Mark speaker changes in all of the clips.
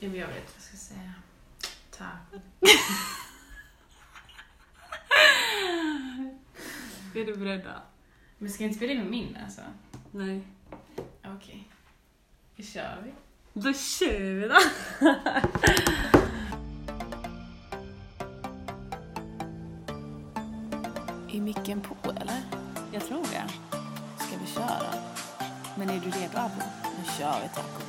Speaker 1: Ja, men jag vet vad jag ska säga. Tack.
Speaker 2: Är du beredda?
Speaker 1: Men ska jag inte spela in med min alltså?
Speaker 2: Nej.
Speaker 1: Okej. Då kör vi.
Speaker 2: Då kör vi då!
Speaker 1: Är micken på eller?
Speaker 2: Jag tror det.
Speaker 1: Ska vi köra? Men är du redo Abo? Nu kör vi taco.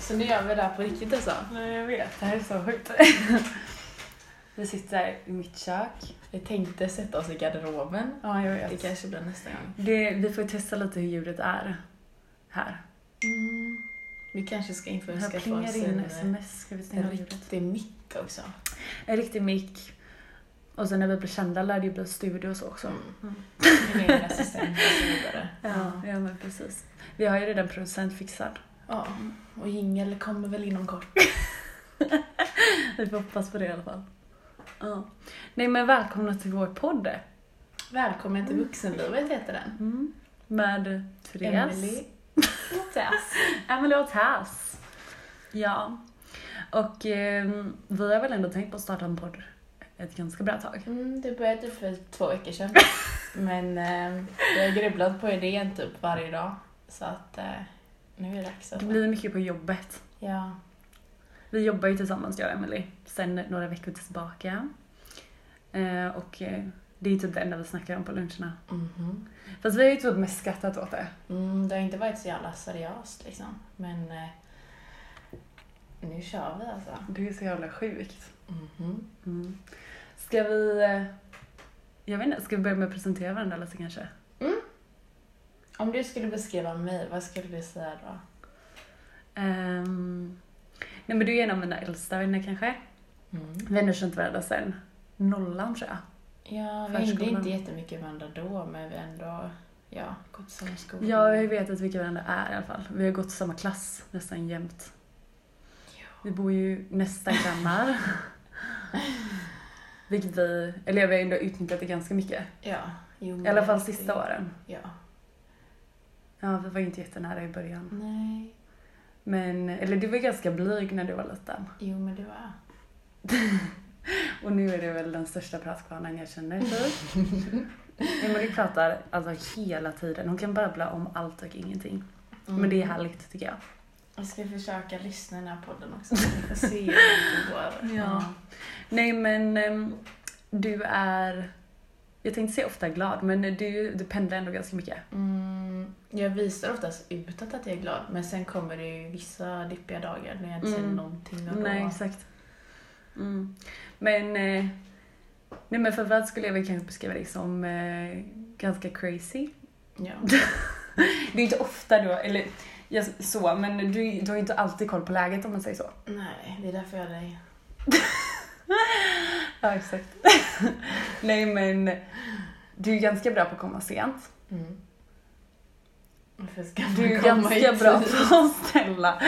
Speaker 1: Så nu gör vi det här på riktigt alltså?
Speaker 2: Nej, jag vet. Det här är så sjukt. Vi sitter i mitt kök.
Speaker 1: Vi tänkte sätta oss i garderoben.
Speaker 2: Ja, jag
Speaker 1: Det
Speaker 2: vet.
Speaker 1: kanske blir nästa gång.
Speaker 2: Det, vi får testa lite hur ljudet är här.
Speaker 1: Mm. Vi kanske ska införa
Speaker 2: Här
Speaker 1: skaffa oss
Speaker 2: plingar in
Speaker 1: en,
Speaker 2: sms. Ska vi
Speaker 1: en
Speaker 2: stänga av ljudet?
Speaker 1: eh, riktig mick också.
Speaker 2: En riktig mick. Och sen när vi blir kända lär det ju bli studio och så också.
Speaker 1: Mm. En egen assistent och så vidare.
Speaker 2: Ja, ja men precis. Vi har ju redan producent fixad.
Speaker 1: Ja, och jingel kommer väl inom kort.
Speaker 2: Vi får hoppas på det i alla fall. Ja. Nej men välkomna till vår podd.
Speaker 1: Välkommen till vuxenlivet heter den.
Speaker 2: Mm. Med Therese.
Speaker 1: Emily. Tess.
Speaker 2: Emily och Tess. Ja. Och eh, vi har väl ändå tänkt på att starta en podd ett ganska bra tag.
Speaker 1: Mm, det började för två veckor sedan. Men eh, jag har grubblat på idén typ varje dag. Så att eh, nu är det dags.
Speaker 2: Det
Speaker 1: Alltså.
Speaker 2: blir mycket på jobbet.
Speaker 1: Ja.
Speaker 2: Vi jobbar ju tillsammans jag och Emily sen några veckor tillbaka. Eh, och eh, det är typ det enda vi snackar om på luncherna.
Speaker 1: Mhm.
Speaker 2: Fast vi har ju typ mest skrattat åt det.
Speaker 1: Mm, det har inte varit så jävla seriöst liksom. Men eh, nu kör vi alltså.
Speaker 2: Det är så jävla sjukt.
Speaker 1: Mhm.
Speaker 2: Mm. Ska vi... eh, Jag vet inte, ska vi börja med att presentera varandra lite kanske?
Speaker 1: Om du skulle beskriva mig, vad skulle du säga då?
Speaker 2: Ehm, nej men du är en av mina äldsta vänner kanske.
Speaker 1: Mm.
Speaker 2: Vi har ändå känt varandra sen nollan tror jag.
Speaker 1: Ja, vi hängde
Speaker 2: Förskolan.
Speaker 1: inte jättemycket med varandra då, men vi har ändå ja, gått samma skola.
Speaker 2: Ja, vi vet att vilka varandra är i alla fall. Vi har gått i samma klass nästan jämt. Vi bor ju nästan grannar. Vilket vi, eller jag har ändå utnyttjat det ganska mycket.
Speaker 1: Ja, jo, men
Speaker 2: I alla fall
Speaker 1: det-
Speaker 2: sista åren.
Speaker 1: Ja.
Speaker 2: Ja, vi var ju inte jättenära i början.
Speaker 1: Nej,
Speaker 2: Men, eller du var ganska blyg när du var liten.
Speaker 1: jo men det var
Speaker 2: Och nu är det väl den största pratkvarnen jag känner typ. Emelie pratar alltså hela tiden. Hon kan babbla om allt och ingenting.
Speaker 1: Mm.
Speaker 2: Men det är härligt tycker jag.
Speaker 1: Jag ska försöka lyssna i den här podden också. så Vi får se hur det går.
Speaker 2: Ja. Nej men ehm, du är, jag tänkte säga ofta glad, men du, du pendlar ändå ganska mycket.
Speaker 1: Mm, jag visar oftast utåt att jag är glad, men sen kommer det ju vissa dippiga dagar när jag inte känner
Speaker 2: Mm.
Speaker 1: någonting. Och då,
Speaker 2: Nej exakt. Mm. Men, eh, nej men framförallt skulle jag väl kanske beskriva dig som eh, ganska crazy.
Speaker 1: Ja.
Speaker 2: Det är inte ofta du, eller jag, så, men du, du har ju inte alltid koll på läget om man säger så.
Speaker 1: Nej, det är därför jag är dig.
Speaker 2: Ja exakt. nej men, du är ganska bra på att komma sent.
Speaker 1: Mm. Varför ska
Speaker 2: Du
Speaker 1: man
Speaker 2: är ju
Speaker 1: komma i
Speaker 2: ganska
Speaker 1: tid?
Speaker 2: bra på att ställa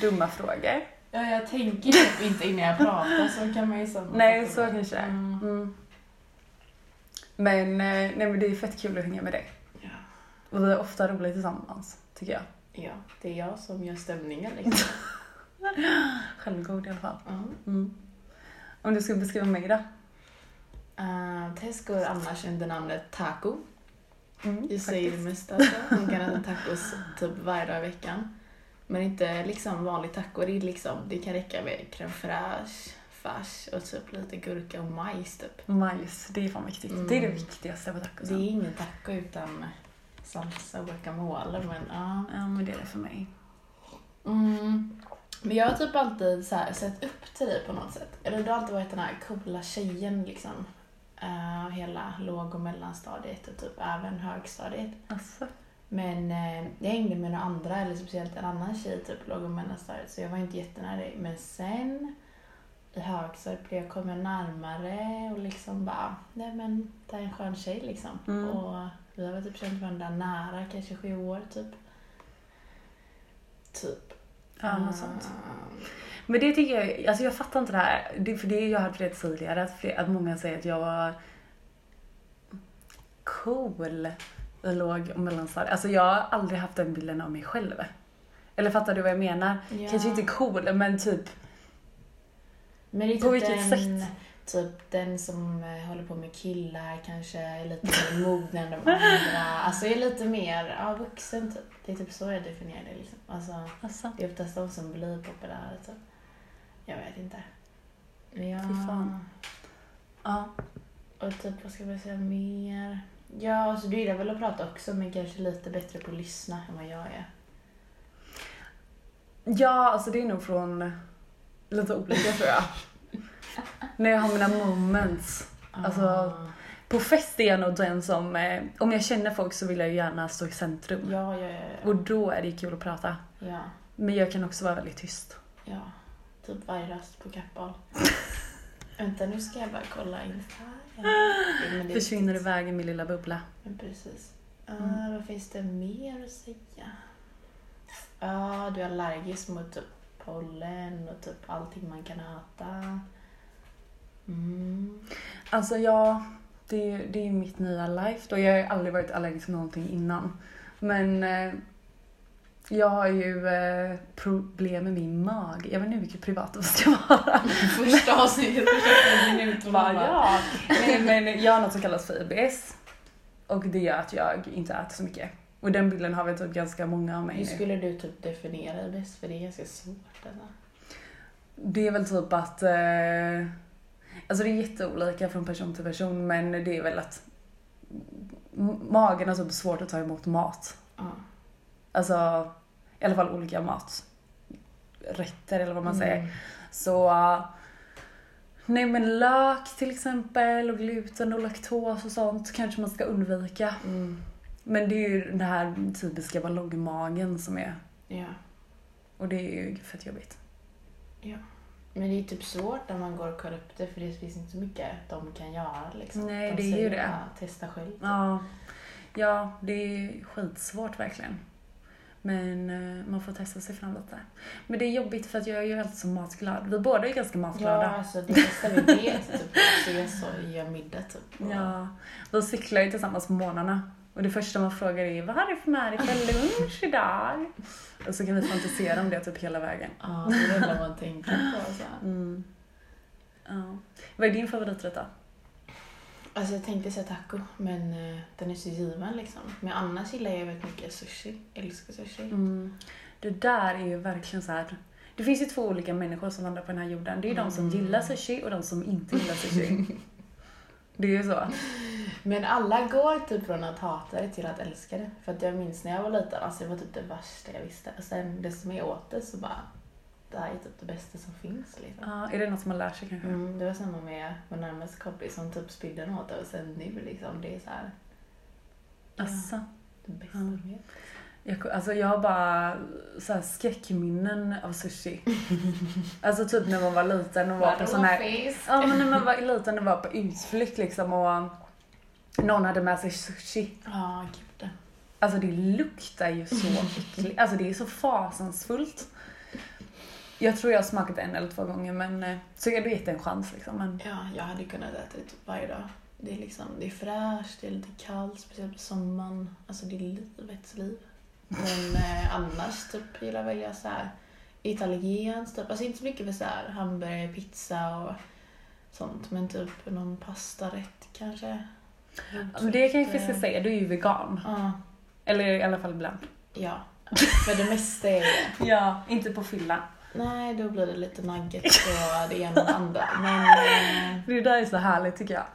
Speaker 2: dumma frågor.
Speaker 1: Ja, jag tänker typ inte innan jag pratar, så kan man ju så.
Speaker 2: Nej, så kanske det är.
Speaker 1: Mm.
Speaker 2: Mm. Men, eh, nej, men det är fett kul att hänga med dig.
Speaker 1: Ja.
Speaker 2: Och vi är ofta roliga tillsammans, tycker jag.
Speaker 1: ja, det är jag som gör stämningen liksom.
Speaker 2: Självgod i alla fall.
Speaker 1: Mm.
Speaker 2: Mm. Om du skulle beskriva mig då?
Speaker 1: Uh, Tess går annars under namnet Taco.
Speaker 2: Mm,
Speaker 1: Jag säger det mesta. Alltså. Hon kan äta tacos typ varje dag i veckan. Men inte liksom vanlig taco. Det, är liksom, det kan räcka med crème fraîche, fars och typ lite gurka och majs typ.
Speaker 2: Majs, det är fan viktigt. Det är det
Speaker 1: Mm.
Speaker 2: viktigaste på
Speaker 1: Det
Speaker 2: tacosen.
Speaker 1: är ingen taco utan salsa och guacamole men ja.
Speaker 2: Ja, men det är det för mig.
Speaker 1: Mm. Men jag har typ alltid så här, sett upp till dig på något sätt. Eller du har alltid varit den här coola tjejen liksom. Eh, hela låg och mellanstadiet och typ även högstadiet.
Speaker 2: Alltså.
Speaker 1: Men eh, jag hängde med några andra, eller speciellt en annan tjej typ låg och mellanstadiet så jag var inte jättenära dig. Men sen i högstadiet blev jag komma närmare och liksom bara, nej men det här är en skön tjej liksom.
Speaker 2: Mm.
Speaker 1: Och vi har väl typ känt varandra nära, kanske sju år typ. Typ.
Speaker 2: Ja, något sånt.
Speaker 1: Ehm,
Speaker 2: Men det tycker jag, alltså jag fattar inte det här. Det, för det jag hade redan tidigare, att, fler, att många säger att jag var cool i låg och mellanstadiet. Alltså jag har aldrig haft den bilden av mig själv. Eller fattar du vad jag menar?
Speaker 1: Ja.
Speaker 2: Kanske inte cool, men typ
Speaker 1: Men det är
Speaker 2: På
Speaker 1: typ
Speaker 2: vilket
Speaker 1: den,
Speaker 2: sätt?
Speaker 1: Typ den som eh, håller på med killar kanske är lite mer mogen än de andra. Alltså är lite mer ja, vuxen typ. Det är typ så jag definierar det liksom. Alltså,
Speaker 2: Alltså,
Speaker 1: det är oftast de som blir populära typ. Jag vet inte. Men ja.
Speaker 2: Fy fan. ja.
Speaker 1: Och typ vad ska man säga mer? Ja, alltså du gillar väl att prata också men kanske lite bättre på att lyssna än vad jag är.
Speaker 2: Ja, alltså det är nog från lite olika tror jag. När jag har mina moments. Alltså,
Speaker 1: Ah.
Speaker 2: på fest är jag nog den som, eh, om jag känner folk så vill jag ju gärna stå i centrum.
Speaker 1: Ja, ja, ja. ja.
Speaker 2: Och då är det ju kul att prata.
Speaker 1: ja.
Speaker 2: Men jag kan också vara väldigt tyst.
Speaker 1: Ja, typ varje rast på Kappahl. Vänta, nu ska jag bara kolla Insta. Ja, men är
Speaker 2: Försvinner
Speaker 1: viktigt.
Speaker 2: iväg i min lilla bubbla.
Speaker 1: Men precis. Ah,
Speaker 2: Mm.
Speaker 1: Vad finns det mer att säga? Ja, du är allergisk mot typ pollen och typ allting man kan äta. Mm.
Speaker 2: Alltså ja, det är ju det är ju mitt nya life då. Jag har ju aldrig varit allergisk för någonting innan. Men eh, jag har ju eh, problem med min mag. Jag vet inte hur mycket privat det ska vara.
Speaker 1: Första avsnittet, första minuten.
Speaker 2: Bara, ja. Nej, men jag har något som kallas för IBS. Och det gör att jag inte äter så mycket. Och den bilden har väl typ ganska många av
Speaker 1: Hur
Speaker 2: mig nu.
Speaker 1: skulle du typ definiera det bäst? För det är ganska svårt. Alltså.
Speaker 2: Det är väl typ att... Eh, alltså det är jätteolika från person till person men det är väl att m- magen har typ svårt att ta emot mat.
Speaker 1: Ja.
Speaker 2: Alltså i alla fall olika maträtter eller vad man säger.
Speaker 1: Mm.
Speaker 2: Så... eh, Nej men lök till exempel och gluten och laktos och sånt kanske man ska undvika.
Speaker 1: Mm.
Speaker 2: Men det är ju den här typiska ballongmagen som är.
Speaker 1: Ja.
Speaker 2: Och det är ju fett jobbigt.
Speaker 1: Men det är typ svårt när man går och kollar upp det för det finns inte så mycket de kan göra. Liksom.
Speaker 2: Nej,
Speaker 1: de
Speaker 2: det är ju
Speaker 1: säger
Speaker 2: det.
Speaker 1: bara, testa själv. typ.
Speaker 2: Ja, ja det är ju skitsvårt verkligen. Men eh, man får testa sig fram lite. Men det är jobbigt för att jag är ju alltid så matglad. Vi båda är ganska
Speaker 1: Ja,
Speaker 2: matglada.
Speaker 1: alltså det bästa vi vet typ att ses och göra middag typ.
Speaker 2: Ja.
Speaker 1: Och-
Speaker 2: Vi cyklar ju tillsammans på morgnarna. Och det första man frågar är vad har du för med dig för lunch idag? Och så kan vi fantisera om det typ hela vägen.
Speaker 1: Ja, det är det enda man tänker på. Alltså.
Speaker 2: Mm. Ja. Vad är din favoriträtt då?
Speaker 1: alltså jag tänkte säga taco men eh, den är så given liksom. Men annars gillar jag väldigt mycket sushi. Jag älskar sushi.
Speaker 2: Mm. Det där är ju verkligen så här. Det finns ju två olika människor som vandrar på den här jorden. Det är ju de som
Speaker 1: Mm.
Speaker 2: gillar sushi och de som inte gillar sushi. det är ju så.
Speaker 1: Men alla går typ från att hata det till att älska det. För att jag minns när jag var liten, alltså det var typ det värsta jag visste. Och sen det som jag åt det så bara, det här är typ det bästa som finns liksom.
Speaker 2: Ja, Ah, är det något som man lär sig kanske?
Speaker 1: Mm, det var samma med vår närmaste kompis som typ spydde något och sen nu liksom, det är så här
Speaker 2: Alltså,
Speaker 1: det bästa
Speaker 2: Mm.
Speaker 1: jag vet.
Speaker 2: jag, alltså jag har bara så här skräckminnen av sushi. alltså typ när man var liten och var på sån här
Speaker 1: fisk.
Speaker 2: Ja men när man var liten och var på utflykt liksom och någon hade med sig sushi.
Speaker 1: Ja, gud. det.
Speaker 2: Alltså det luktar ju så äckligt. Alltså det är så fasansfullt. Jag tror jag har smakat en eller två gånger men eh, så jag hade gett det en chans liksom. Men
Speaker 1: Ja, jag hade kunnat äta det typ varje dag. Det är liksom, det är fräscht, det är lite kallt, speciellt på sommaren. Alltså det är livets liv. Men eh, annars typ gillar väl jag så här italienskt typ. Alltså inte så mycket för så här hamburgare, pizza och sånt. Men typ någon pastarätt kanske.
Speaker 2: men Alltså, det kan jag faktiskt säga, du är ju vegan.
Speaker 1: Ja,
Speaker 2: Eller i alla fall ibland.
Speaker 1: ja. Men det mesta är det.
Speaker 2: Ja, inte på fylla.
Speaker 1: Nej, då blir det lite nuggets och det ena och det andra. Men, eh,
Speaker 2: Det där är så härligt tycker jag.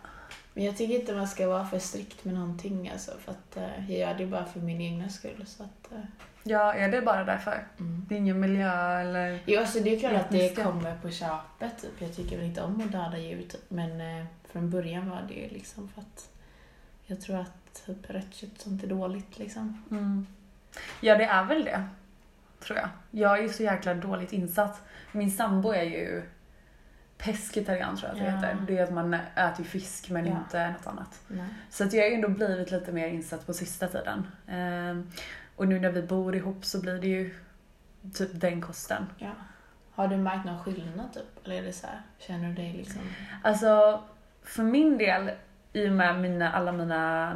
Speaker 1: men jag tycker inte man ska vara för strikt med någonting alltså, för att eh, jag gör det bara för min egna skull. Så att, eh,
Speaker 2: Ja, är det bara därför?
Speaker 1: mm.
Speaker 2: Det är ingen miljö eller...
Speaker 1: Jo, alltså det är klart att
Speaker 2: Etniska.
Speaker 1: det kommer på köpet. Typ. Jag tycker väl inte om att döda djur, typ. men eh, från början var det ju liksom för att jag tror att typ rött kött sånt är dåligt liksom.
Speaker 2: Mm. Ja, det är väl det. Tror jag. Jag är ju så jäkla dåligt insatt. Min sambo är ju pescetarian tror jag att det
Speaker 1: Ja.
Speaker 2: heter. Det är att man äter fisk men
Speaker 1: Ja.
Speaker 2: inte något annat.
Speaker 1: Nej.
Speaker 2: Så att jag har ju ändå blivit lite mer insatt på sista tiden. Ehm, och nu när vi bor ihop så blir det ju typ den kosten.
Speaker 1: Ja. Har du märkt någon skillnad typ? Eller är det så här, känner du dig liksom...
Speaker 2: Alltså, för min del, i och med mina, alla mina,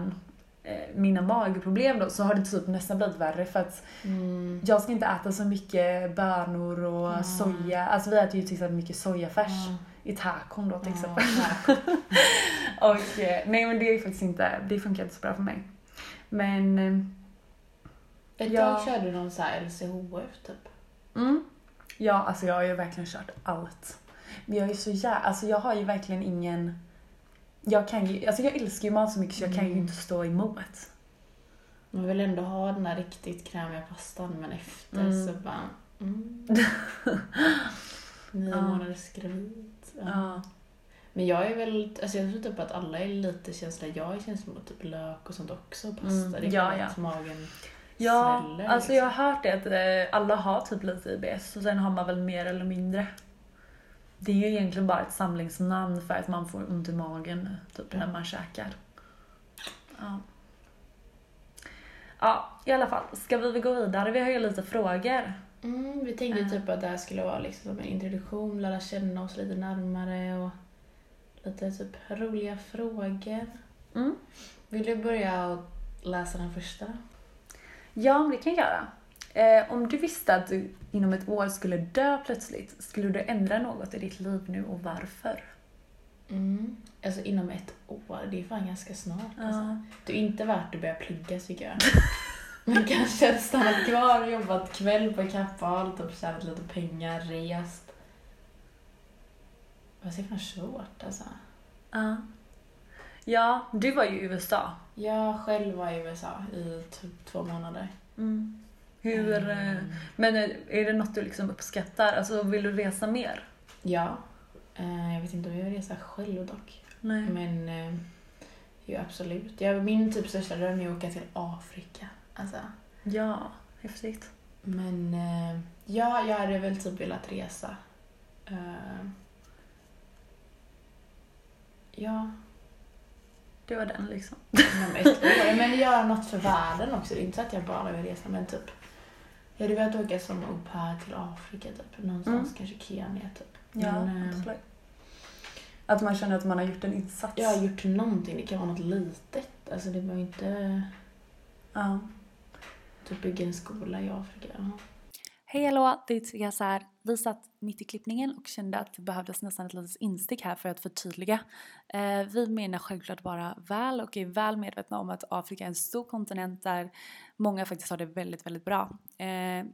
Speaker 2: eh, mina magproblem då, så har det typ nästan blivit värre för att
Speaker 1: Mm.
Speaker 2: jag ska inte äta så mycket bönor och
Speaker 1: Mm.
Speaker 2: soja. Alltså vi äter ju till exempel mycket sojafärs
Speaker 1: Mm.
Speaker 2: i tacon då till
Speaker 1: Ja,
Speaker 2: exempel.
Speaker 1: nej.
Speaker 2: Och eh, nej men det är faktiskt inte, det funkar inte så bra för mig. Men, eh,
Speaker 1: Ett
Speaker 2: Ja.
Speaker 1: tag körde du någon så här LCHF typ.
Speaker 2: mm, ja alltså jag har ju verkligen kört allt. Men jag är så jävla, alltså jag har ju verkligen ingen, jag kan ju, alltså jag älskar ju mat så mycket så jag kan ju
Speaker 1: Mm.
Speaker 2: inte stå emot.
Speaker 1: Man vill ändå ha den där riktigt krämiga pastan men efter
Speaker 2: Mm.
Speaker 1: så bara... Mm. Nio
Speaker 2: Ja.
Speaker 1: månaders gravid. Ja.
Speaker 2: Ja.
Speaker 1: Men jag är väl, alltså jag tror typ att alla är lite känsliga. Jag är känslig mot typ lök och sånt också. och Pasta.
Speaker 2: Mm,
Speaker 1: Det är
Speaker 2: ja,
Speaker 1: klart
Speaker 2: ja.
Speaker 1: att magen
Speaker 2: Ja,
Speaker 1: smäller. liksom.
Speaker 2: alltså jag har hört det att eh, alla har typ lite IBS och sen har man väl mer eller mindre. Det är ju egentligen bara ett samlingsnamn för att man får ont i magen typ när
Speaker 1: Mm.
Speaker 2: man käkar. Ja. ja, i alla fall. Ska vi väl gå vidare? Vi har ju lite frågor.
Speaker 1: Mm, vi tänkte
Speaker 2: Ja.
Speaker 1: typ att det här skulle vara liksom som en introduktion, lära känna oss lite närmare och lite typ roliga frågor.
Speaker 2: Mm.
Speaker 1: Vill du börja och läsa den första?
Speaker 2: Ja, men det kan jag göra. Eh, om du visste att du inom ett år skulle dö plötsligt, skulle du ändra något i ditt liv nu och varför?
Speaker 1: Mm. Alltså inom ett år, det är fan ganska snart. Alltså.
Speaker 2: Ja.
Speaker 1: Det är inte värt att börja plugga tycker jag. Men kanske hade stannat kvar och jobbat kväll på Kappahl, typ tjänat lite pengar, rest. Fast det är fan svårt alltså.
Speaker 2: Ja. Ja, du var ju i USA.
Speaker 1: Jag själv var i USA i typ två månader.
Speaker 2: Mm. Hur, eh,
Speaker 1: Mm.
Speaker 2: Men är är det något du liksom uppskattar? Alltså vill du resa mer?
Speaker 1: Ja. Eh, Jag vet inte om jag vill resa själv dock.
Speaker 2: Nej.
Speaker 1: Men eh, ju absolut. Jag, min typ största dröm är att åka till Afrika. Alltså.
Speaker 2: Ja, häftigt.
Speaker 1: Men eh, ja, jag hade väl typ velat resa. Eh, ja,
Speaker 2: Det var den liksom.
Speaker 1: inom ett år. Men göra något för världen också. Det är inte så att jag bara vill resa men typ. Jag hade velat åka som au pair till Afrika typ. Någonstans
Speaker 2: Mm.
Speaker 1: kanske Kenya typ.
Speaker 2: Ja,
Speaker 1: Men, eh,
Speaker 2: absolut. Att man känner att man har gjort en insats.
Speaker 1: Jag har gjort någonting. Det kan vara något litet. Alltså det behöver inte
Speaker 2: Ja.
Speaker 1: typ bygga en skola i Afrika. Ja.
Speaker 2: Hej hallå, det är Therese här. Vi satt mitt i klippningen och kände att det behövdes nästan ett litet instick här för att förtydliga. Eh, vi menar självklart bara väl och är väl medvetna om att Afrika är en stor kontinent där många faktiskt har det väldigt, väldigt bra. Eh,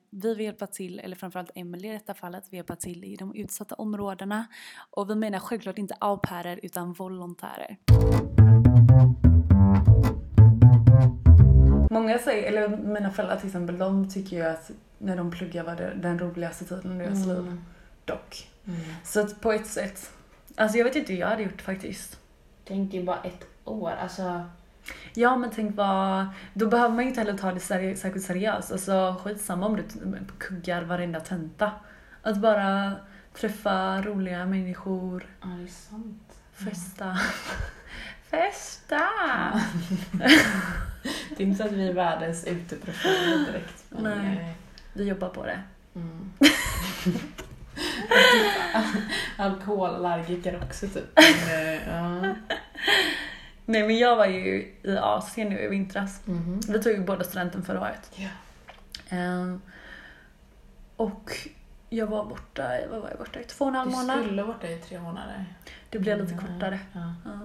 Speaker 2: vi vill hjälpa till, eller framförallt Emelie i detta fallet, vill hjälpa till i de utsatta områdena. Och vi menar självklart inte au pairer utan volontärer. Många säger, eller mina föräldrar till exempel, de tycker ju att när de pluggar var det den roligaste tiden i deras liv. Dock.
Speaker 1: Mm.
Speaker 2: Så att på ett sätt. Alltså jag vet inte hur jag hade gjort faktiskt.
Speaker 1: Tänk ju bara ett år. Alltså
Speaker 2: Ja men tänk vad, då behöver man ju inte heller ta det seri- särskilt seriöst. Alltså skitsamma om du t- kuggar varenda tenta. Att bara träffa roliga människor,
Speaker 1: ja, det är sant.
Speaker 2: festa. festa!
Speaker 1: Det är inte så att vi är världens uteprofiler direkt. Men,
Speaker 2: Nej. Vi jobbar på det.
Speaker 1: eh, Mm. Alkoholallergiker också typ. Men, eh, ja.
Speaker 2: Nej men jag var ju i Asien nu i vintras.
Speaker 1: Mhm.
Speaker 2: Vi tog ju båda studenten förra året.
Speaker 1: ja.
Speaker 2: Ehm, och jag var borta, i- vad var jag borta i? Två och en halv
Speaker 1: Du
Speaker 2: månad.
Speaker 1: skulle varit där i tre månader.
Speaker 2: Det blev lite
Speaker 1: Mm.
Speaker 2: kortare.
Speaker 1: Ja.
Speaker 2: Ja.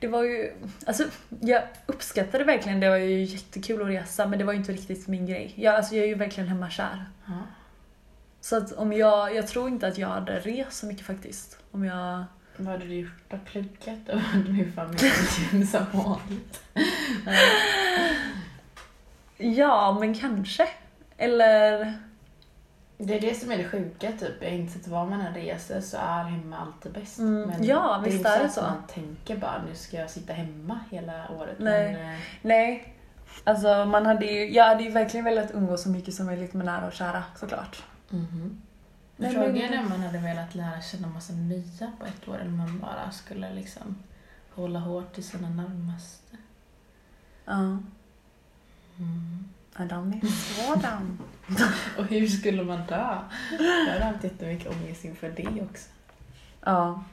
Speaker 2: Det var ju, alltså jag uppskattade verkligen, det var ju jättekul att resa men det var ju inte riktigt min grej. Jag, alltså, jag är ju verkligen hemmakär.
Speaker 1: Ja.
Speaker 2: Så att om jag, jag tror inte att jag hade rest så mycket faktiskt. Om jag,
Speaker 1: Vad hade du gjort då? Pluggat och hade du familjen som vanligt?
Speaker 2: ja men kanske. Eller,
Speaker 1: Det är det som är det sjuka typ. Jag har insett var man än reser så är hemma alltid bäst.
Speaker 2: Mm. Ja,
Speaker 1: det är
Speaker 2: visst
Speaker 1: inte
Speaker 2: är
Speaker 1: så
Speaker 2: det
Speaker 1: att
Speaker 2: så.
Speaker 1: man tänker bara nu ska jag sitta hemma hela året.
Speaker 2: Nej.
Speaker 1: Men, eh,
Speaker 2: nej. Alltså man hade ju, jag hade ju verkligen velat umgås så mycket som möjligt med nära och kära såklart.
Speaker 1: Mhm.
Speaker 2: Nej,
Speaker 1: Frågan
Speaker 2: men-
Speaker 1: är om man hade velat lära känna massa nya på ett år eller om man bara skulle liksom hålla hårt till sina närmaste.
Speaker 2: Ja. Adam är sådan.
Speaker 1: Mm. Och hur skulle man dö? Jag har haft jättemycket ångest inför det också.
Speaker 2: Ja.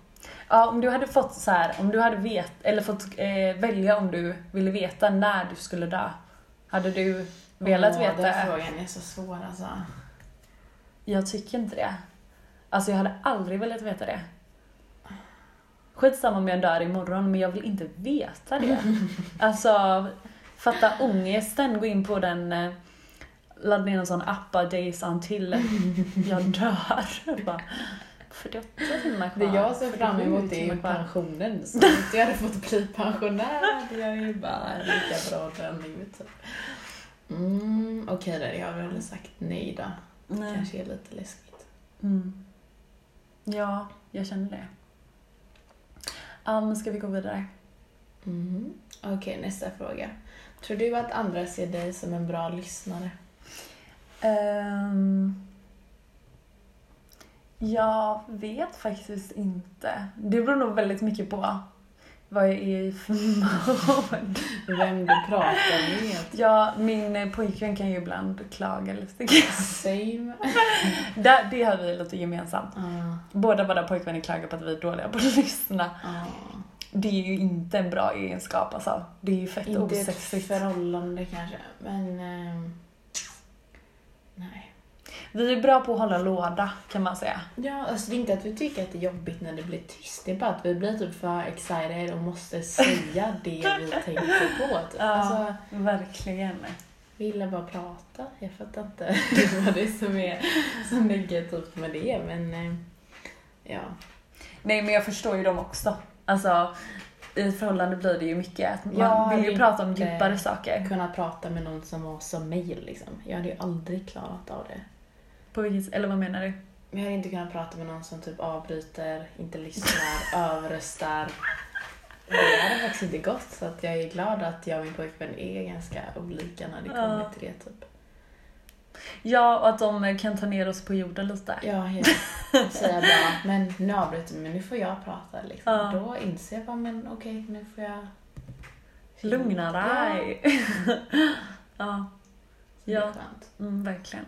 Speaker 2: Ja, om du hade fått så här, om du hade vet, eller fått eh, välja om du ville veta när du skulle dö. Hade du velat
Speaker 1: Åh,
Speaker 2: veta?
Speaker 1: Den frågan är så svår alltså.
Speaker 2: Jag tycker inte det. Alltså jag hade aldrig velat veta det. Skitsamma om jag dör imorgon, men jag vill inte veta det. Alltså, fatta ångesten, gå in på den, eh, ladda ner en sån app, bara days until jag dör. Bara, 48 timmar
Speaker 1: Det
Speaker 2: kvar.
Speaker 1: jag ser fram
Speaker 2: 47
Speaker 1: emot är
Speaker 2: timmar
Speaker 1: ju
Speaker 2: kvar.
Speaker 1: pensionen. Så om inte jag hade fått bli pensionär hade jag ju bara lika bra den ut. typ. Mm, Okej där, jag har väl sagt nej då.
Speaker 2: Nej.
Speaker 1: Kanske är lite läskigt.
Speaker 2: Mm. Ja, jag känner det. Ja, men ska vi gå vidare?
Speaker 1: Mm. Okej, nästa fråga. Tror du att andra ser dig som en bra lyssnare?
Speaker 2: Ehm, jag vet faktiskt inte. Det beror nog väldigt mycket på vad jag är i för mode.
Speaker 1: Vem du pratar med?
Speaker 2: Ja, min eh, pojkvän kan ju ibland klaga lite.
Speaker 1: Same.
Speaker 2: Det, det har vi lite gemensamt.
Speaker 1: Ah,
Speaker 2: Båda våra pojkvänner klagar på att vi är dåliga på att lyssna.
Speaker 1: ah.
Speaker 2: Det är ju inte en bra egenskap alltså. Det är ju fett
Speaker 1: Inte ett
Speaker 2: osexigt.
Speaker 1: förhållande kanske, men... ehm, nej.
Speaker 2: Vi är bra på att hålla låda kan man säga.
Speaker 1: Ja, alltså det är inte att vi tycker att det är jobbigt när det blir tyst. Det är bara att vi blir typ för excited och måste säga det vi tänker på. Typ.
Speaker 2: Ja.
Speaker 1: Alltså,
Speaker 2: Verkligen.
Speaker 1: vi gillar bara att prata. Jag fattar inte vad det är som är så negativt med det, men... eh, ja.
Speaker 2: Nej men jag förstår ju dem också. Alltså i förhållande blir det ju mycket att man
Speaker 1: Ja,
Speaker 2: vill ju
Speaker 1: det-
Speaker 2: prata om
Speaker 1: det-
Speaker 2: djupare saker.
Speaker 1: Kunna prata med någon som var som mig, liksom. Jag hade ju aldrig klarat av det.
Speaker 2: På vilket, eller vad menar du?
Speaker 1: Men jag hade inte kunnat prata med någon som typ avbryter, inte lyssnar, överröstar. Det hade faktiskt inte gått så att jag är glad att jag och min pojkvän är ganska olika när det kommer
Speaker 2: Ja.
Speaker 1: till det. Typ.
Speaker 2: Ja och att de kan ta ner oss på jorden lite.
Speaker 1: Ja, helt säga bara, men nu avbryter vi, men nu får jag prata. Liksom.
Speaker 2: Ja.
Speaker 1: Då inser jag bara, men okej, nu får jag...
Speaker 2: Lugna dig. Ja. ja.
Speaker 1: Så det är
Speaker 2: Ja.
Speaker 1: skönt.
Speaker 2: Mm, verkligen.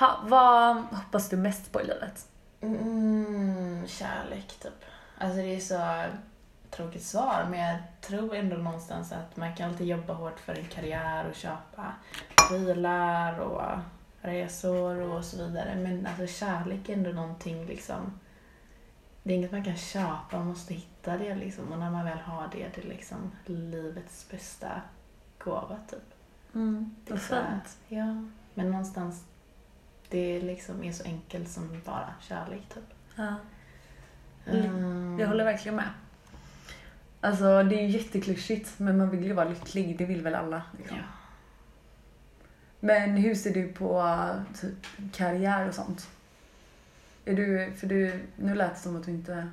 Speaker 2: Ha, vad hoppas du mest på i livet?
Speaker 1: Mm, kärlek, typ. Alltså det är så tråkigt svar, men jag tror ändå någonstans att man kan alltid jobba hårt för en karriär och köpa bilar och resor och så vidare. Men alltså kärlek är ändå någonting liksom... Det är inget man kan köpa, man måste hitta det liksom. Och när man väl har det, det är liksom livets bästa gåva typ.
Speaker 2: Mm,
Speaker 1: Det är
Speaker 2: vad
Speaker 1: så här,
Speaker 2: fint.
Speaker 1: Ja, men någonstans det liksom är så enkelt som bara kärlek typ.
Speaker 2: Ja.
Speaker 1: Mm.
Speaker 2: Jag håller verkligen med. Alltså det är ju jätteklyschigt men man vill ju vara lycklig, det vill väl alla. liksom.
Speaker 1: Ja.
Speaker 2: Men hur ser du på eh, typ, karriär och sånt? Är du, för du, nu lät det som att du inte...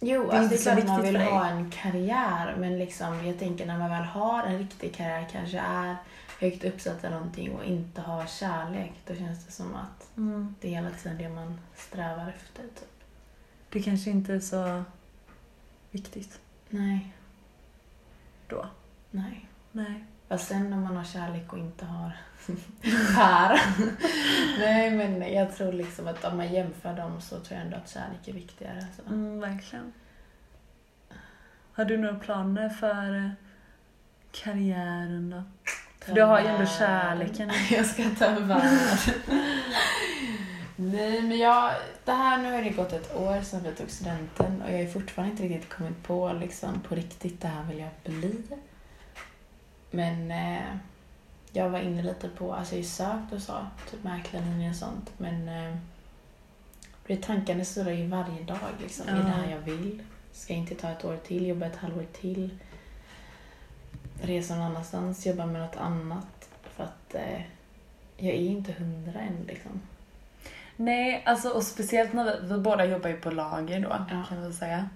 Speaker 1: Jo,
Speaker 2: Det är
Speaker 1: alltså det
Speaker 2: inte
Speaker 1: är klart
Speaker 2: så
Speaker 1: att man
Speaker 2: viktigt
Speaker 1: vill
Speaker 2: för dig.
Speaker 1: ha en karriär, men liksom, jag tänker när man väl har en riktig karriär, kanske är högt uppsatt eller någonting och inte har kärlek, då känns det som att
Speaker 2: Mm.
Speaker 1: det är hela tiden det man strävar efter. Typ.
Speaker 2: Det kanske inte är så viktigt
Speaker 1: Nej,
Speaker 2: då.
Speaker 1: nej.
Speaker 2: Nej.
Speaker 1: Fast sen om man har kärlek och inte har här. nej, men jag tror liksom att om man jämför dem så tror jag ändå att kärlek är viktigare. Så.
Speaker 2: Mm, verkligen. Har du några planer för eh, karriären då? För du har ju ändå kärleken.
Speaker 1: Jag ska ta en värld. Nej, men jag... Det här, nu har det gått ett år sedan vi tog studenten och jag har fortfarande inte riktigt kommit på liksom, på riktigt det här vill jag bli. Men eh, jag var inne lite på, alltså jag har ju sökt och så, typ mäklarlinjen och sånt, men eh, det tankarna snurrar ju varje dag liksom. Är
Speaker 2: Ja.
Speaker 1: det här jag vill? Ska jag inte ta ett år till, jobba ett halvår till? resa någon annanstans, jobba med något annat. För att eh, jag är inte hundra än liksom.
Speaker 2: Nej, alltså och speciellt när vi, vi båda jobbar ju på lager då,
Speaker 1: Ja.
Speaker 2: kan vi säga.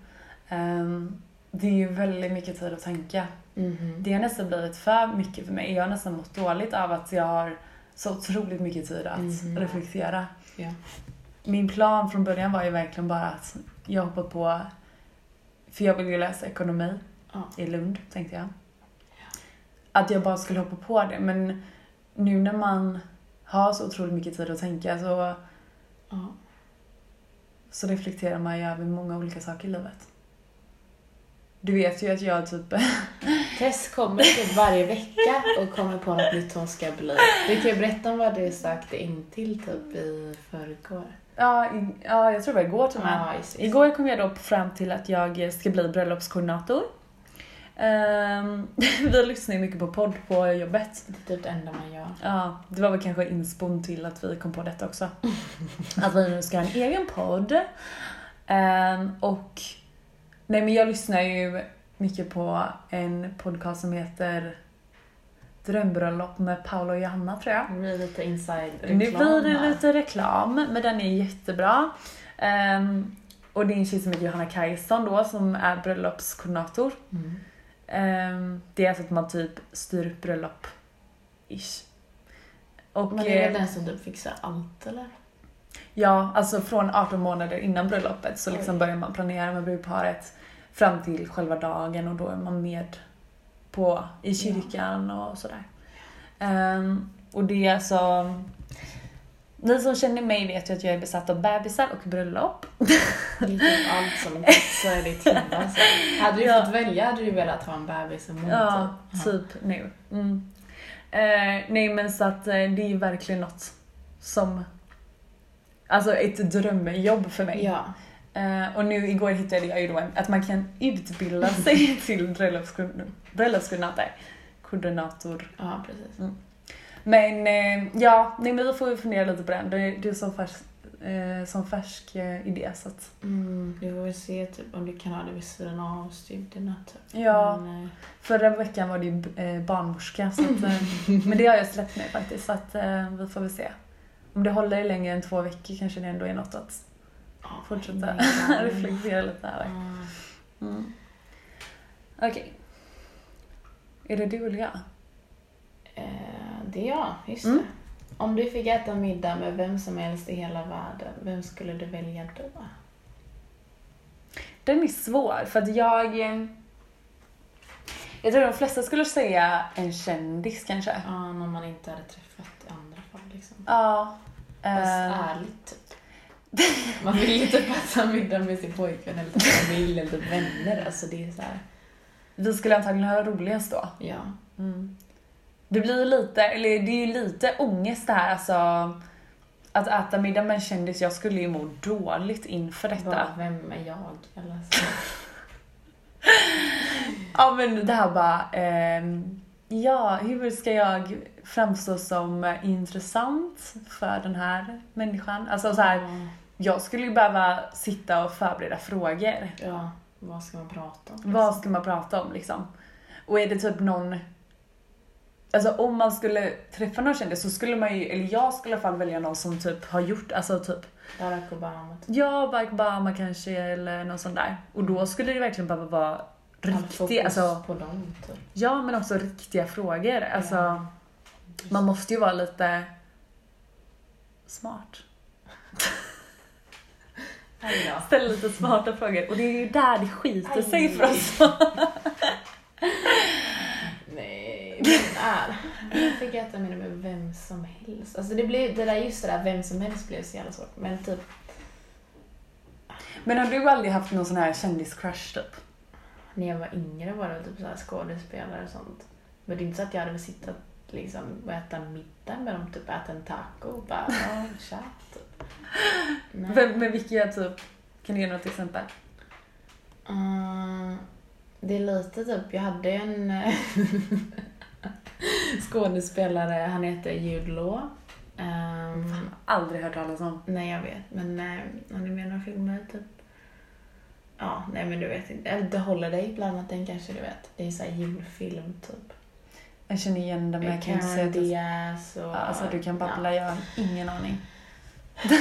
Speaker 2: Ehm, det är ju väldigt mycket tid att tänka.
Speaker 1: Mhm.
Speaker 2: Det har nästan blivit för mycket för mig. Jag har nästan mått dåligt av att jag har så otroligt mycket tid att
Speaker 1: Mhm.
Speaker 2: reflektera.
Speaker 1: Ja.
Speaker 2: Min plan från början var ju verkligen bara att jag hoppar på, för jag vill ju läsa ekonomi
Speaker 1: Ja.
Speaker 2: i Lund, tänkte jag. att jag bara skulle hoppa på det. Men nu när man har så otroligt mycket tid att tänka så,
Speaker 1: Ja.
Speaker 2: så reflekterar man ju över många olika saker i livet. Du vet ju att jag typ...
Speaker 1: Tess kommer typ varje vecka och kommer på något nytt hon ska bli. Du kan ju berätta om vad du sökte in till typ i förrgår.
Speaker 2: ja, i, ja, jag tror det var igår till och med.
Speaker 1: Ja, just det.
Speaker 2: Igår kom jag då fram till att jag ska bli bröllopskoordinator. Ehm, vi lyssnar ju mycket på podd på jobbet.
Speaker 1: Det är typ det enda man gör.
Speaker 2: Ja, det var väl kanske inspon till att vi kom på detta också. Att vi nu ska ha en egen podd. Ehm, och... Nej men jag lyssnar ju mycket på en podcast som heter Drömbröllop med Paolo och Johanna tror jag.
Speaker 1: Nu blir det lite inside-reklam
Speaker 2: Nu blir det
Speaker 1: här.
Speaker 2: lite reklam, men den är jättebra. Ehm, och det är en tjej som heter Johanna Kajson då som är bröllopskoordinator.
Speaker 1: Mm.
Speaker 2: Ehm, det är alltså att man typ styr upp bröllop. Ish. Och,
Speaker 1: Men det är
Speaker 2: eh,
Speaker 1: väl den som typ fixar allt eller?
Speaker 2: Ja, alltså från 18 månader innan bröllopet så liksom
Speaker 1: Oj.
Speaker 2: börjar man planera med brudparet fram till själva dagen och då är man med på, i kyrkan och sådär. Ehm, och det är alltså... Ni som känner mig vet ju att jag är besatt av bebisar och bröllop.
Speaker 1: Det är typ allt som så är ditt himla alltså. Hade du
Speaker 2: Ja.
Speaker 1: fått välja hade du velat ha en bebis som mor
Speaker 2: Ja,
Speaker 1: typ.
Speaker 2: typ nu. Mm. Eh, nej men så att eh, det är ju verkligen något som... Alltså ett drömjobb för mig.
Speaker 1: Ja.
Speaker 2: Eh, och nu igår hittade jag ju då en, att man kan utbilda sig till bröllopskoordin- bröllopskoordinator. Koordinator.
Speaker 1: ja, precis.
Speaker 2: Men eh, ja, nej, men vi får ju fundera lite på den. Det, det är så färsk, eh, som färsk eh, idé så att,
Speaker 1: Mm, du får väl se typ, om du kan ha det vid sidan av studierna. Typ.
Speaker 2: Ja.
Speaker 1: Men, eh,
Speaker 2: Mm. Förra veckan var det ju eh, barnmorska. Så att, eh, men det har jag släppt nu faktiskt så att eh, vi får väl se. Om det håller längre än två veckor kanske det ändå är något att
Speaker 1: ja,
Speaker 2: fortsätta
Speaker 1: häng igång.
Speaker 2: reflektera lite över.
Speaker 1: Ja.
Speaker 2: Mm. Okej. Är det du eller jag?
Speaker 1: Eh, det är jag, just
Speaker 2: Mm.
Speaker 1: det. Om du fick äta middag med vem som helst i hela världen, vem skulle du välja då?
Speaker 2: Den är svår för att jag... eh, Jag tror de flesta skulle säga en kändis kanske.
Speaker 1: Ja, någon man inte hade träffat i andra fall liksom.
Speaker 2: Ja.
Speaker 1: Fast
Speaker 2: eh,
Speaker 1: ärligt typ. Man vill inte passa middag med sin pojkvän eller sin familj eller vänner. Alltså det är så här.
Speaker 2: vi skulle antagligen ha roligast då.
Speaker 1: ja.
Speaker 2: Det blir ju lite, eller det är ju lite ångest det här alltså. Att äta middag med en kändis, jag skulle ju må dåligt inför detta.
Speaker 1: Bara, vem är jag? Eller så.
Speaker 2: Ja men det här bara, ehm, ja hur ska jag framstå som intressant för den här människan? Alltså så här, Jag skulle ju behöva sitta och förbereda frågor.
Speaker 1: Ja, vad ska man prata om?
Speaker 2: Vad ska man prata om liksom? Och är det typ någon... Alltså om man skulle träffa någon kändis så skulle man ju, eller jag skulle i alla fall välja någon som typ har gjort, alltså typ
Speaker 1: Barack Obama, typ.
Speaker 2: ja, Barack Obama kanske eller någon sån där. Och då skulle det verkligen behöva vara
Speaker 1: Allt fokus
Speaker 2: riktiga, alltså
Speaker 1: på dem typ.
Speaker 2: ja men också riktiga frågor. Alltså
Speaker 1: Ja.
Speaker 2: man måste ju vara lite smart.
Speaker 1: Aj då.
Speaker 2: Ställ lite smarta frågor och det är ju där det skiter
Speaker 1: Aj.
Speaker 2: sig för oss.
Speaker 1: Nej, vem är? Jag fick äta middag med vem som helst. Alltså det, blev, det där just det där vem som helst blev så jävla svårt. Men typ,
Speaker 2: Men har du aldrig haft någon sån här kändiscrush typ?
Speaker 1: när jag var yngre var det väl typ så här skådespelare och sånt. Men det är inte så att jag hade suttit liksom, och äta middag med dem, typ äta en taco och bara ja, tja, typ. Nej.
Speaker 2: Vem, med vilka typ? Kan du ge något exempel?
Speaker 1: Mm, det är lite typ, jag hade en skådespelare, han heter Jude Law. Ehm,
Speaker 2: Aldrig hört talas om.
Speaker 1: Nej, jag vet. Men eh, om du menar filmer, typ. Ja, nej men du vet inte. Eller The Holiday bland annat, den kanske du vet. Det är så här julfilm, typ.
Speaker 2: Jag känner igen det men jag kan inte säga
Speaker 1: Cameron
Speaker 2: att det
Speaker 1: Diaz och...
Speaker 2: Alltså du kan babbla, jag har ingen aning.
Speaker 1: Ja.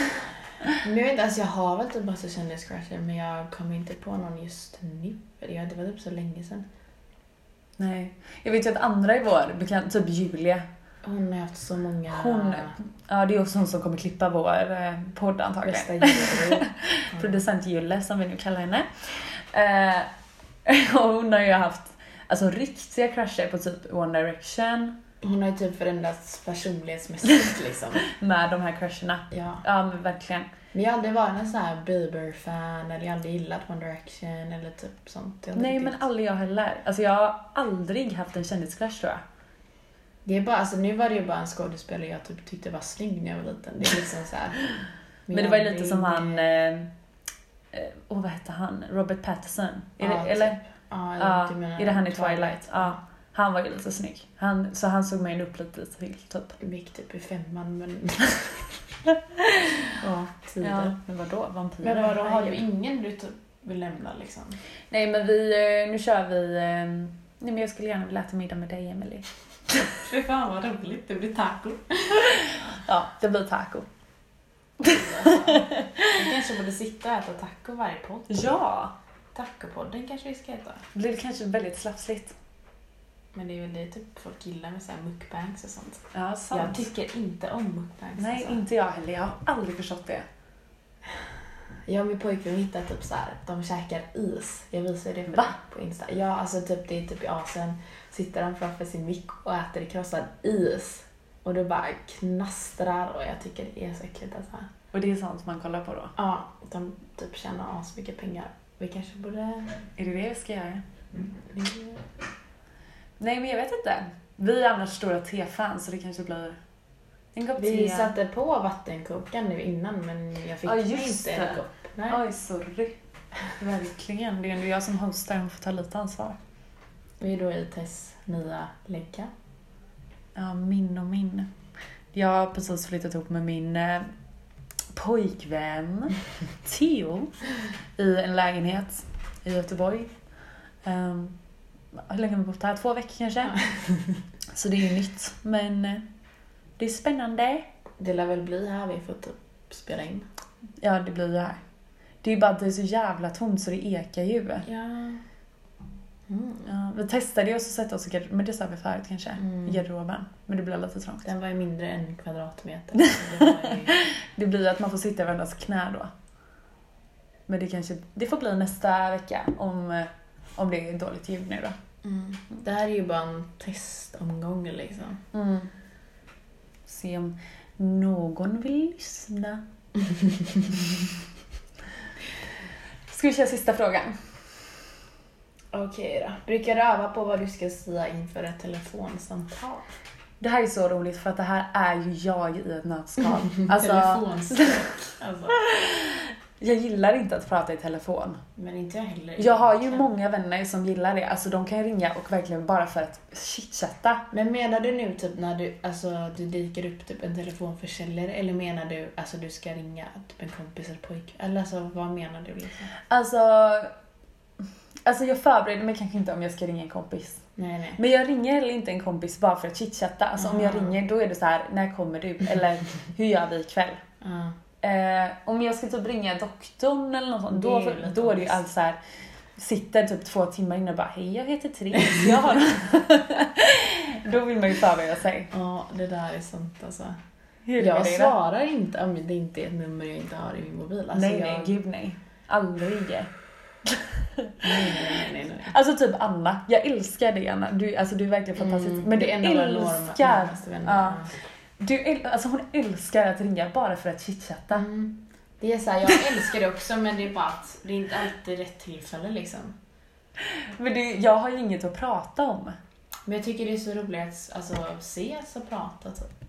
Speaker 1: Men jag vet inte, alltså jag har väl typ massa kändiscrusher men jag kommer inte på någon just nu. Eller jag har inte varit upp typ så länge sedan.
Speaker 2: Nej. Jag vet ju att andra i vår bekant, typ Julia,
Speaker 1: Hon har haft så många...
Speaker 2: Hon ja det är också hon som kommer klippa vår eh, podd antagligen.
Speaker 1: Bästa julrop.
Speaker 2: Producent Julle som vi nu kallar henne. Eh, och hon har ju haft Alltså riktiga krascher på typ One Direction
Speaker 1: Hon har ju typ förändrats personlighetsmässigt liksom.
Speaker 2: med de här crasherna.
Speaker 1: Ja.
Speaker 2: Ja men verkligen.
Speaker 1: Men jag har aldrig varit en sån här Bieber-fan eller jag har aldrig gillat One Direction eller typ sånt. Jag har inte
Speaker 2: Nej
Speaker 1: riktigt-
Speaker 2: men aldrig jag heller. Alltså jag har aldrig haft en kändiscrash tror jag.
Speaker 1: Det är bara, alltså nu var det ju bara en skådespelare jag typ tyckte var snygg när jag var liten. Det är liksom så här.
Speaker 2: Men det var ju lite
Speaker 1: jag-
Speaker 2: som han... eh, eh, Åh, vad hette han? Robert Pattinson? Är
Speaker 1: Ja,
Speaker 2: det, eller?
Speaker 1: typ. Ja,
Speaker 2: Ja,
Speaker 1: du menar
Speaker 2: är det han i Twilight? Ja. Han var ju lite snygg. Han, så han såg mig upp lite till, typ.
Speaker 1: Jag gick typ i femman men... ja, tider.
Speaker 2: Ja. Men vadå? Vampyrer?
Speaker 1: Men vadå, har du
Speaker 2: Nej.
Speaker 1: ingen du typ vill lämna liksom?
Speaker 2: Nej, men vi... eh, Nu kör vi... eh, Nej, men jag skulle gärna vilja äta middag med dig, Emily.
Speaker 1: Fy fan vad roligt, det blir taco.
Speaker 2: Ja, det blir taco.
Speaker 1: Vi kanske borde sitta och äta taco varje podd.
Speaker 2: Ja!
Speaker 1: Tacopodden kanske vi ska heta.
Speaker 2: Det blir kanske väldigt slafsigt.
Speaker 1: Men det är väl det typ folk gillar med så här mukbangs och sånt.
Speaker 2: Ja,
Speaker 1: Jag tycker inte om mukbangs.
Speaker 2: Nej,
Speaker 1: alltså.
Speaker 2: inte jag heller. Jag har aldrig förstått det.
Speaker 1: Jag och min pojkvän hittade typ så här, de käkar is. Jag visade det för
Speaker 2: Va?
Speaker 1: dig på Insta. Ja, alltså typ det är typ i Asien. Sitter de framför sin mick och äter i krossad is. Och det bara knastrar och jag tycker det är så äckligt alltså.
Speaker 2: Och det är sånt man kollar på då.
Speaker 1: Ja, de typ tjänar asmycket pengar. Vi kanske borde...
Speaker 2: Är det det vi ska göra? Nej, men jag vet inte. Vi är annars stora tefans så det kanske blir en kopp
Speaker 1: Vi
Speaker 2: te.
Speaker 1: satte på vattenkokaren nu innan men jag fick
Speaker 2: Ja, just
Speaker 1: inte en
Speaker 2: det.
Speaker 1: kopp. Nej.
Speaker 2: Oj, sorry. Verkligen. Det är ändå jag som hostar, hon får ta lite ansvar.
Speaker 1: Vi är då i Tess nya lägga.
Speaker 2: Ja, min och min. Jag har precis flyttat ihop med min eh, pojkvän Theo i en lägenhet i Göteborg. Ehm, hur länge har vi bott här? Två veckor kanske? Så det är ju nytt. Men eh, det är spännande.
Speaker 1: Det lär väl bli här vi får typ spela in.
Speaker 2: Ja, det blir ju här. Det är ju bara att det är så jävla tomt så det ekar ju.
Speaker 1: Ja. Mm.
Speaker 2: Ja, vi testade ju också att sätta oss i garderoben, men det sa vi förut kanske,
Speaker 1: Mm.
Speaker 2: i garderoben. Men det blir lite trångt.
Speaker 1: Den var ju mindre än en kvadratmeter. Så det var ju-
Speaker 2: Det blir ju att man får sitta i varandras knä då. Men det kanske, det får bli nästa vecka om, eh, om det är dåligt ljud nu då.
Speaker 1: Mm. Det här är ju bara en testomgång liksom.
Speaker 2: Se om någon vill lyssna. Ska vi köra sista frågan?
Speaker 1: Okej då. Brukar du öva på vad du ska säga inför ett telefonsamtal?
Speaker 2: Det här är så roligt för att det här är ju jag i ett nötskal. Alltså,
Speaker 1: Telefonskräck. Alltså.
Speaker 2: jag gillar inte att prata i telefon.
Speaker 1: Men inte jag heller.
Speaker 2: Jag har ju
Speaker 1: egentligen.
Speaker 2: många vänner som gillar det. Alltså de kan ringa och verkligen bara för att chitchatta.
Speaker 1: Men menar du nu typ när du, alltså, du dyker upp typ en telefonförsäljare eller menar du alltså du ska ringa typ en kompis eller pojk? Eller alltså vad menar du liksom?
Speaker 2: Alltså, alltså jag förbereder mig kanske inte om jag ska ringa en kompis.
Speaker 1: Nej nej.
Speaker 2: Men jag ringer heller inte en kompis bara för att chitchatta. Alltså om jag
Speaker 1: Mm.
Speaker 2: ringer då är det så här: när kommer du? Eller hur gör vi ikväll?
Speaker 1: Ja.
Speaker 2: Eh, om jag ska typ ringa doktorn eller något sånt, då,
Speaker 1: Det är ju lite
Speaker 2: då är det ju
Speaker 1: ångest.
Speaker 2: allt så här. Sitter typ två timmar innan och bara hej jag heter Therese, jag har... då vill man ju förbereda sig.
Speaker 1: Ja, det där är sant alltså.
Speaker 2: Hur är det med
Speaker 1: Jag
Speaker 2: dig då?
Speaker 1: svarar inte om det inte är ett nummer jag inte har i min mobil. Alltså,
Speaker 2: nej,
Speaker 1: jag...
Speaker 2: nej, gud nej. Aldrig.
Speaker 1: nej, nej, nej, nej.
Speaker 2: Alltså typ Anna, jag älskar dig Anna. Du, alltså, du är verkligen fantastisk. men du
Speaker 1: Mm, det är en av våra norm-
Speaker 2: älskar...
Speaker 1: närmaste
Speaker 2: Ja.
Speaker 1: vänner.
Speaker 2: Du, äl- alltså hon älskar att ringa bara för att chitchatta.
Speaker 1: Mm. Det är så här, jag älskar det också men det är bara att det är inte alltid rätt tillfälle liksom.
Speaker 2: Men det, jag har ju inget att prata om.
Speaker 1: Men jag tycker det är så roligt att alltså, ses och prata typ.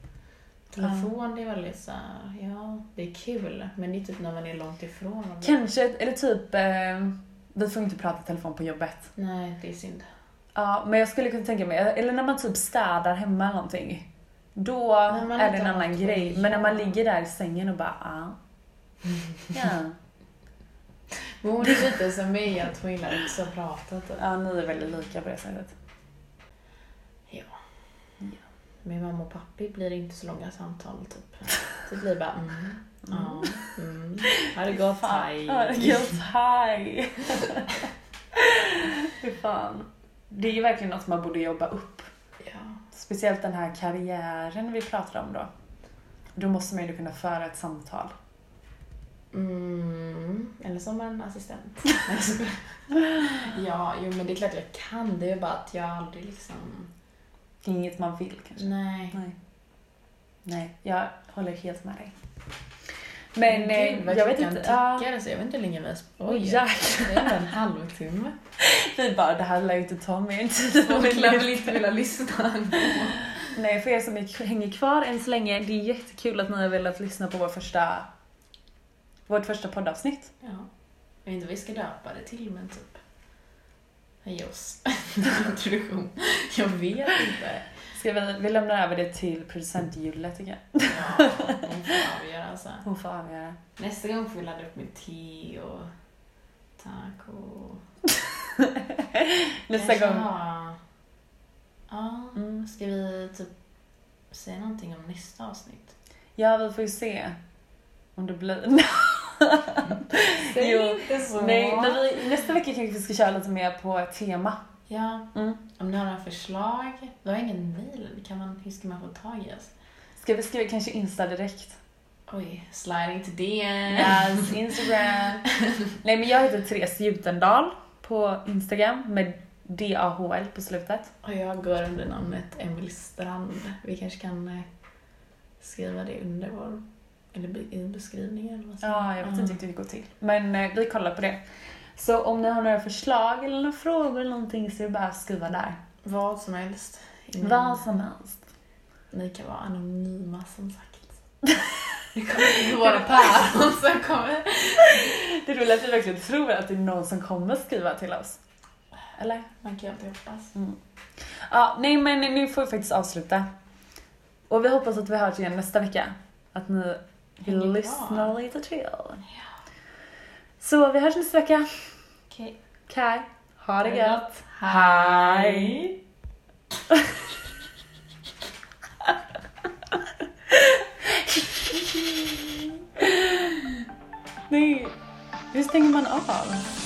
Speaker 1: Telefon det är väldigt så här, ja det är kul men det är typ när man är långt ifrån. Och det,
Speaker 2: Kanske, ett- eller typ, eh, vi får inte prata i telefon på jobbet.
Speaker 1: nej det är synd.
Speaker 2: Ja, men jag skulle kunna tänka mig, eller när man typ städar hemma eller någonting. Då
Speaker 1: När man
Speaker 2: är det
Speaker 1: inte har
Speaker 2: en annan
Speaker 1: något att
Speaker 2: grej.
Speaker 1: göra.
Speaker 2: Men när man ligger där i sängen och bara ah. Ja,
Speaker 1: Men hon är lite som mig att hon gillar också att prata typ.
Speaker 2: ja ni är väldigt lika på det sättet.
Speaker 1: Ja.
Speaker 2: Ja.
Speaker 1: Med mamma och pappi blir det inte så långa samtal typ. Det blir bara mm, ja, mm. Ha det gott, hej.
Speaker 2: Ja, Guilt high. Fy fan. Det är ju verkligen något man borde jobba upp.
Speaker 1: Ja.
Speaker 2: Speciellt den här karriären vi pratar om då. Då måste man ju kunna föra ett samtal.
Speaker 1: Mm, eller henne som en assistent. Nej, jag skojar. ja, jo men det är klart jag kan. Det är bara att jag aldrig liksom...
Speaker 2: Inget man vill kanske.
Speaker 1: Nej.
Speaker 2: Nej. Nej, jag håller helt med dig. Men eh,
Speaker 1: Gud, vad
Speaker 2: jag vet
Speaker 1: klockan
Speaker 2: inte. Ja,
Speaker 1: Tickar, alltså, jag vet inte hur länge vi har
Speaker 2: Oj,
Speaker 1: spojat.
Speaker 2: jäklar.
Speaker 1: Det är ändå en halvtimme.
Speaker 2: Vi bara, det här lär ju inte ta mer än
Speaker 1: Folk lär väl
Speaker 2: tid.
Speaker 1: inte vilja lyssna ändå.
Speaker 2: Nej, för er som är- hänger kvar än så länge, det är jättekul att ni har velat lyssna på vår första, vårt första poddavsnitt.
Speaker 1: Ja. Jag vet inte vad vi ska döpa det till, men typ... Hej oss. Introduktion. Jag vet inte.
Speaker 2: Ska vi, vi lämnar över det till producent Julia tycker jag.
Speaker 1: Ja, hon får avgöra alltså.
Speaker 2: Hon får avgöra.
Speaker 1: Nästa gång får vi ladda upp med te och taco.
Speaker 2: Nästa
Speaker 1: Kanske
Speaker 2: gång.
Speaker 1: ha- Ja,
Speaker 2: Mm.
Speaker 1: ska vi typ säga någonting om nästa avsnitt?
Speaker 2: Ja, vi får ju se om det blir... Säg
Speaker 1: inte så!
Speaker 2: Nej, men vi, nästa vecka kanske vi ska köra lite mer på ett tema.
Speaker 1: Ja,
Speaker 2: Mm.
Speaker 1: om ni har några förslag. Vi har ingen mail. Kan man, hur ska man få tag i oss?
Speaker 2: Ska vi skriva kanske Insta direkt?
Speaker 1: Oj, sliding to DM.
Speaker 2: Yes, Instagram. Nej, men jag heter Therese Jutendal på Instagram med DAHL på slutet.
Speaker 1: Och jag går under namnet Emil Strand. Vi kanske kan eh, skriva det under vår... Eller be- i beskrivningen. eller vad
Speaker 2: Ja,
Speaker 1: säger man?
Speaker 2: jag vet
Speaker 1: Mm.
Speaker 2: inte riktigt hur det går till. Men eh, vi kollar på det. Så om ni har några förslag eller några frågor eller någonting så är det bara att skriva där.
Speaker 1: Vad som helst. Ingen-
Speaker 2: Vad som helst.
Speaker 1: Ni kan vara anonyma som sagt. Det kommer vara Persson som kommer.
Speaker 2: Det roliga är att vi verkligen tror att det är någon som kommer skriva till oss. Eller?
Speaker 1: Man kan ju alltid hoppas.
Speaker 2: Ja, nej men nu får vi faktiskt avsluta. Och vi hoppas att vi hörs igen nästa vecka. Att ni
Speaker 1: Hänger
Speaker 2: vill
Speaker 1: kvar.
Speaker 2: lyssna lite till. Så vi hörs nästa vecka.
Speaker 1: Okej.
Speaker 2: Kaj,
Speaker 1: Ha
Speaker 2: ha det
Speaker 1: det
Speaker 2: gött.
Speaker 1: Hej!
Speaker 2: Nej, hur stänger man av?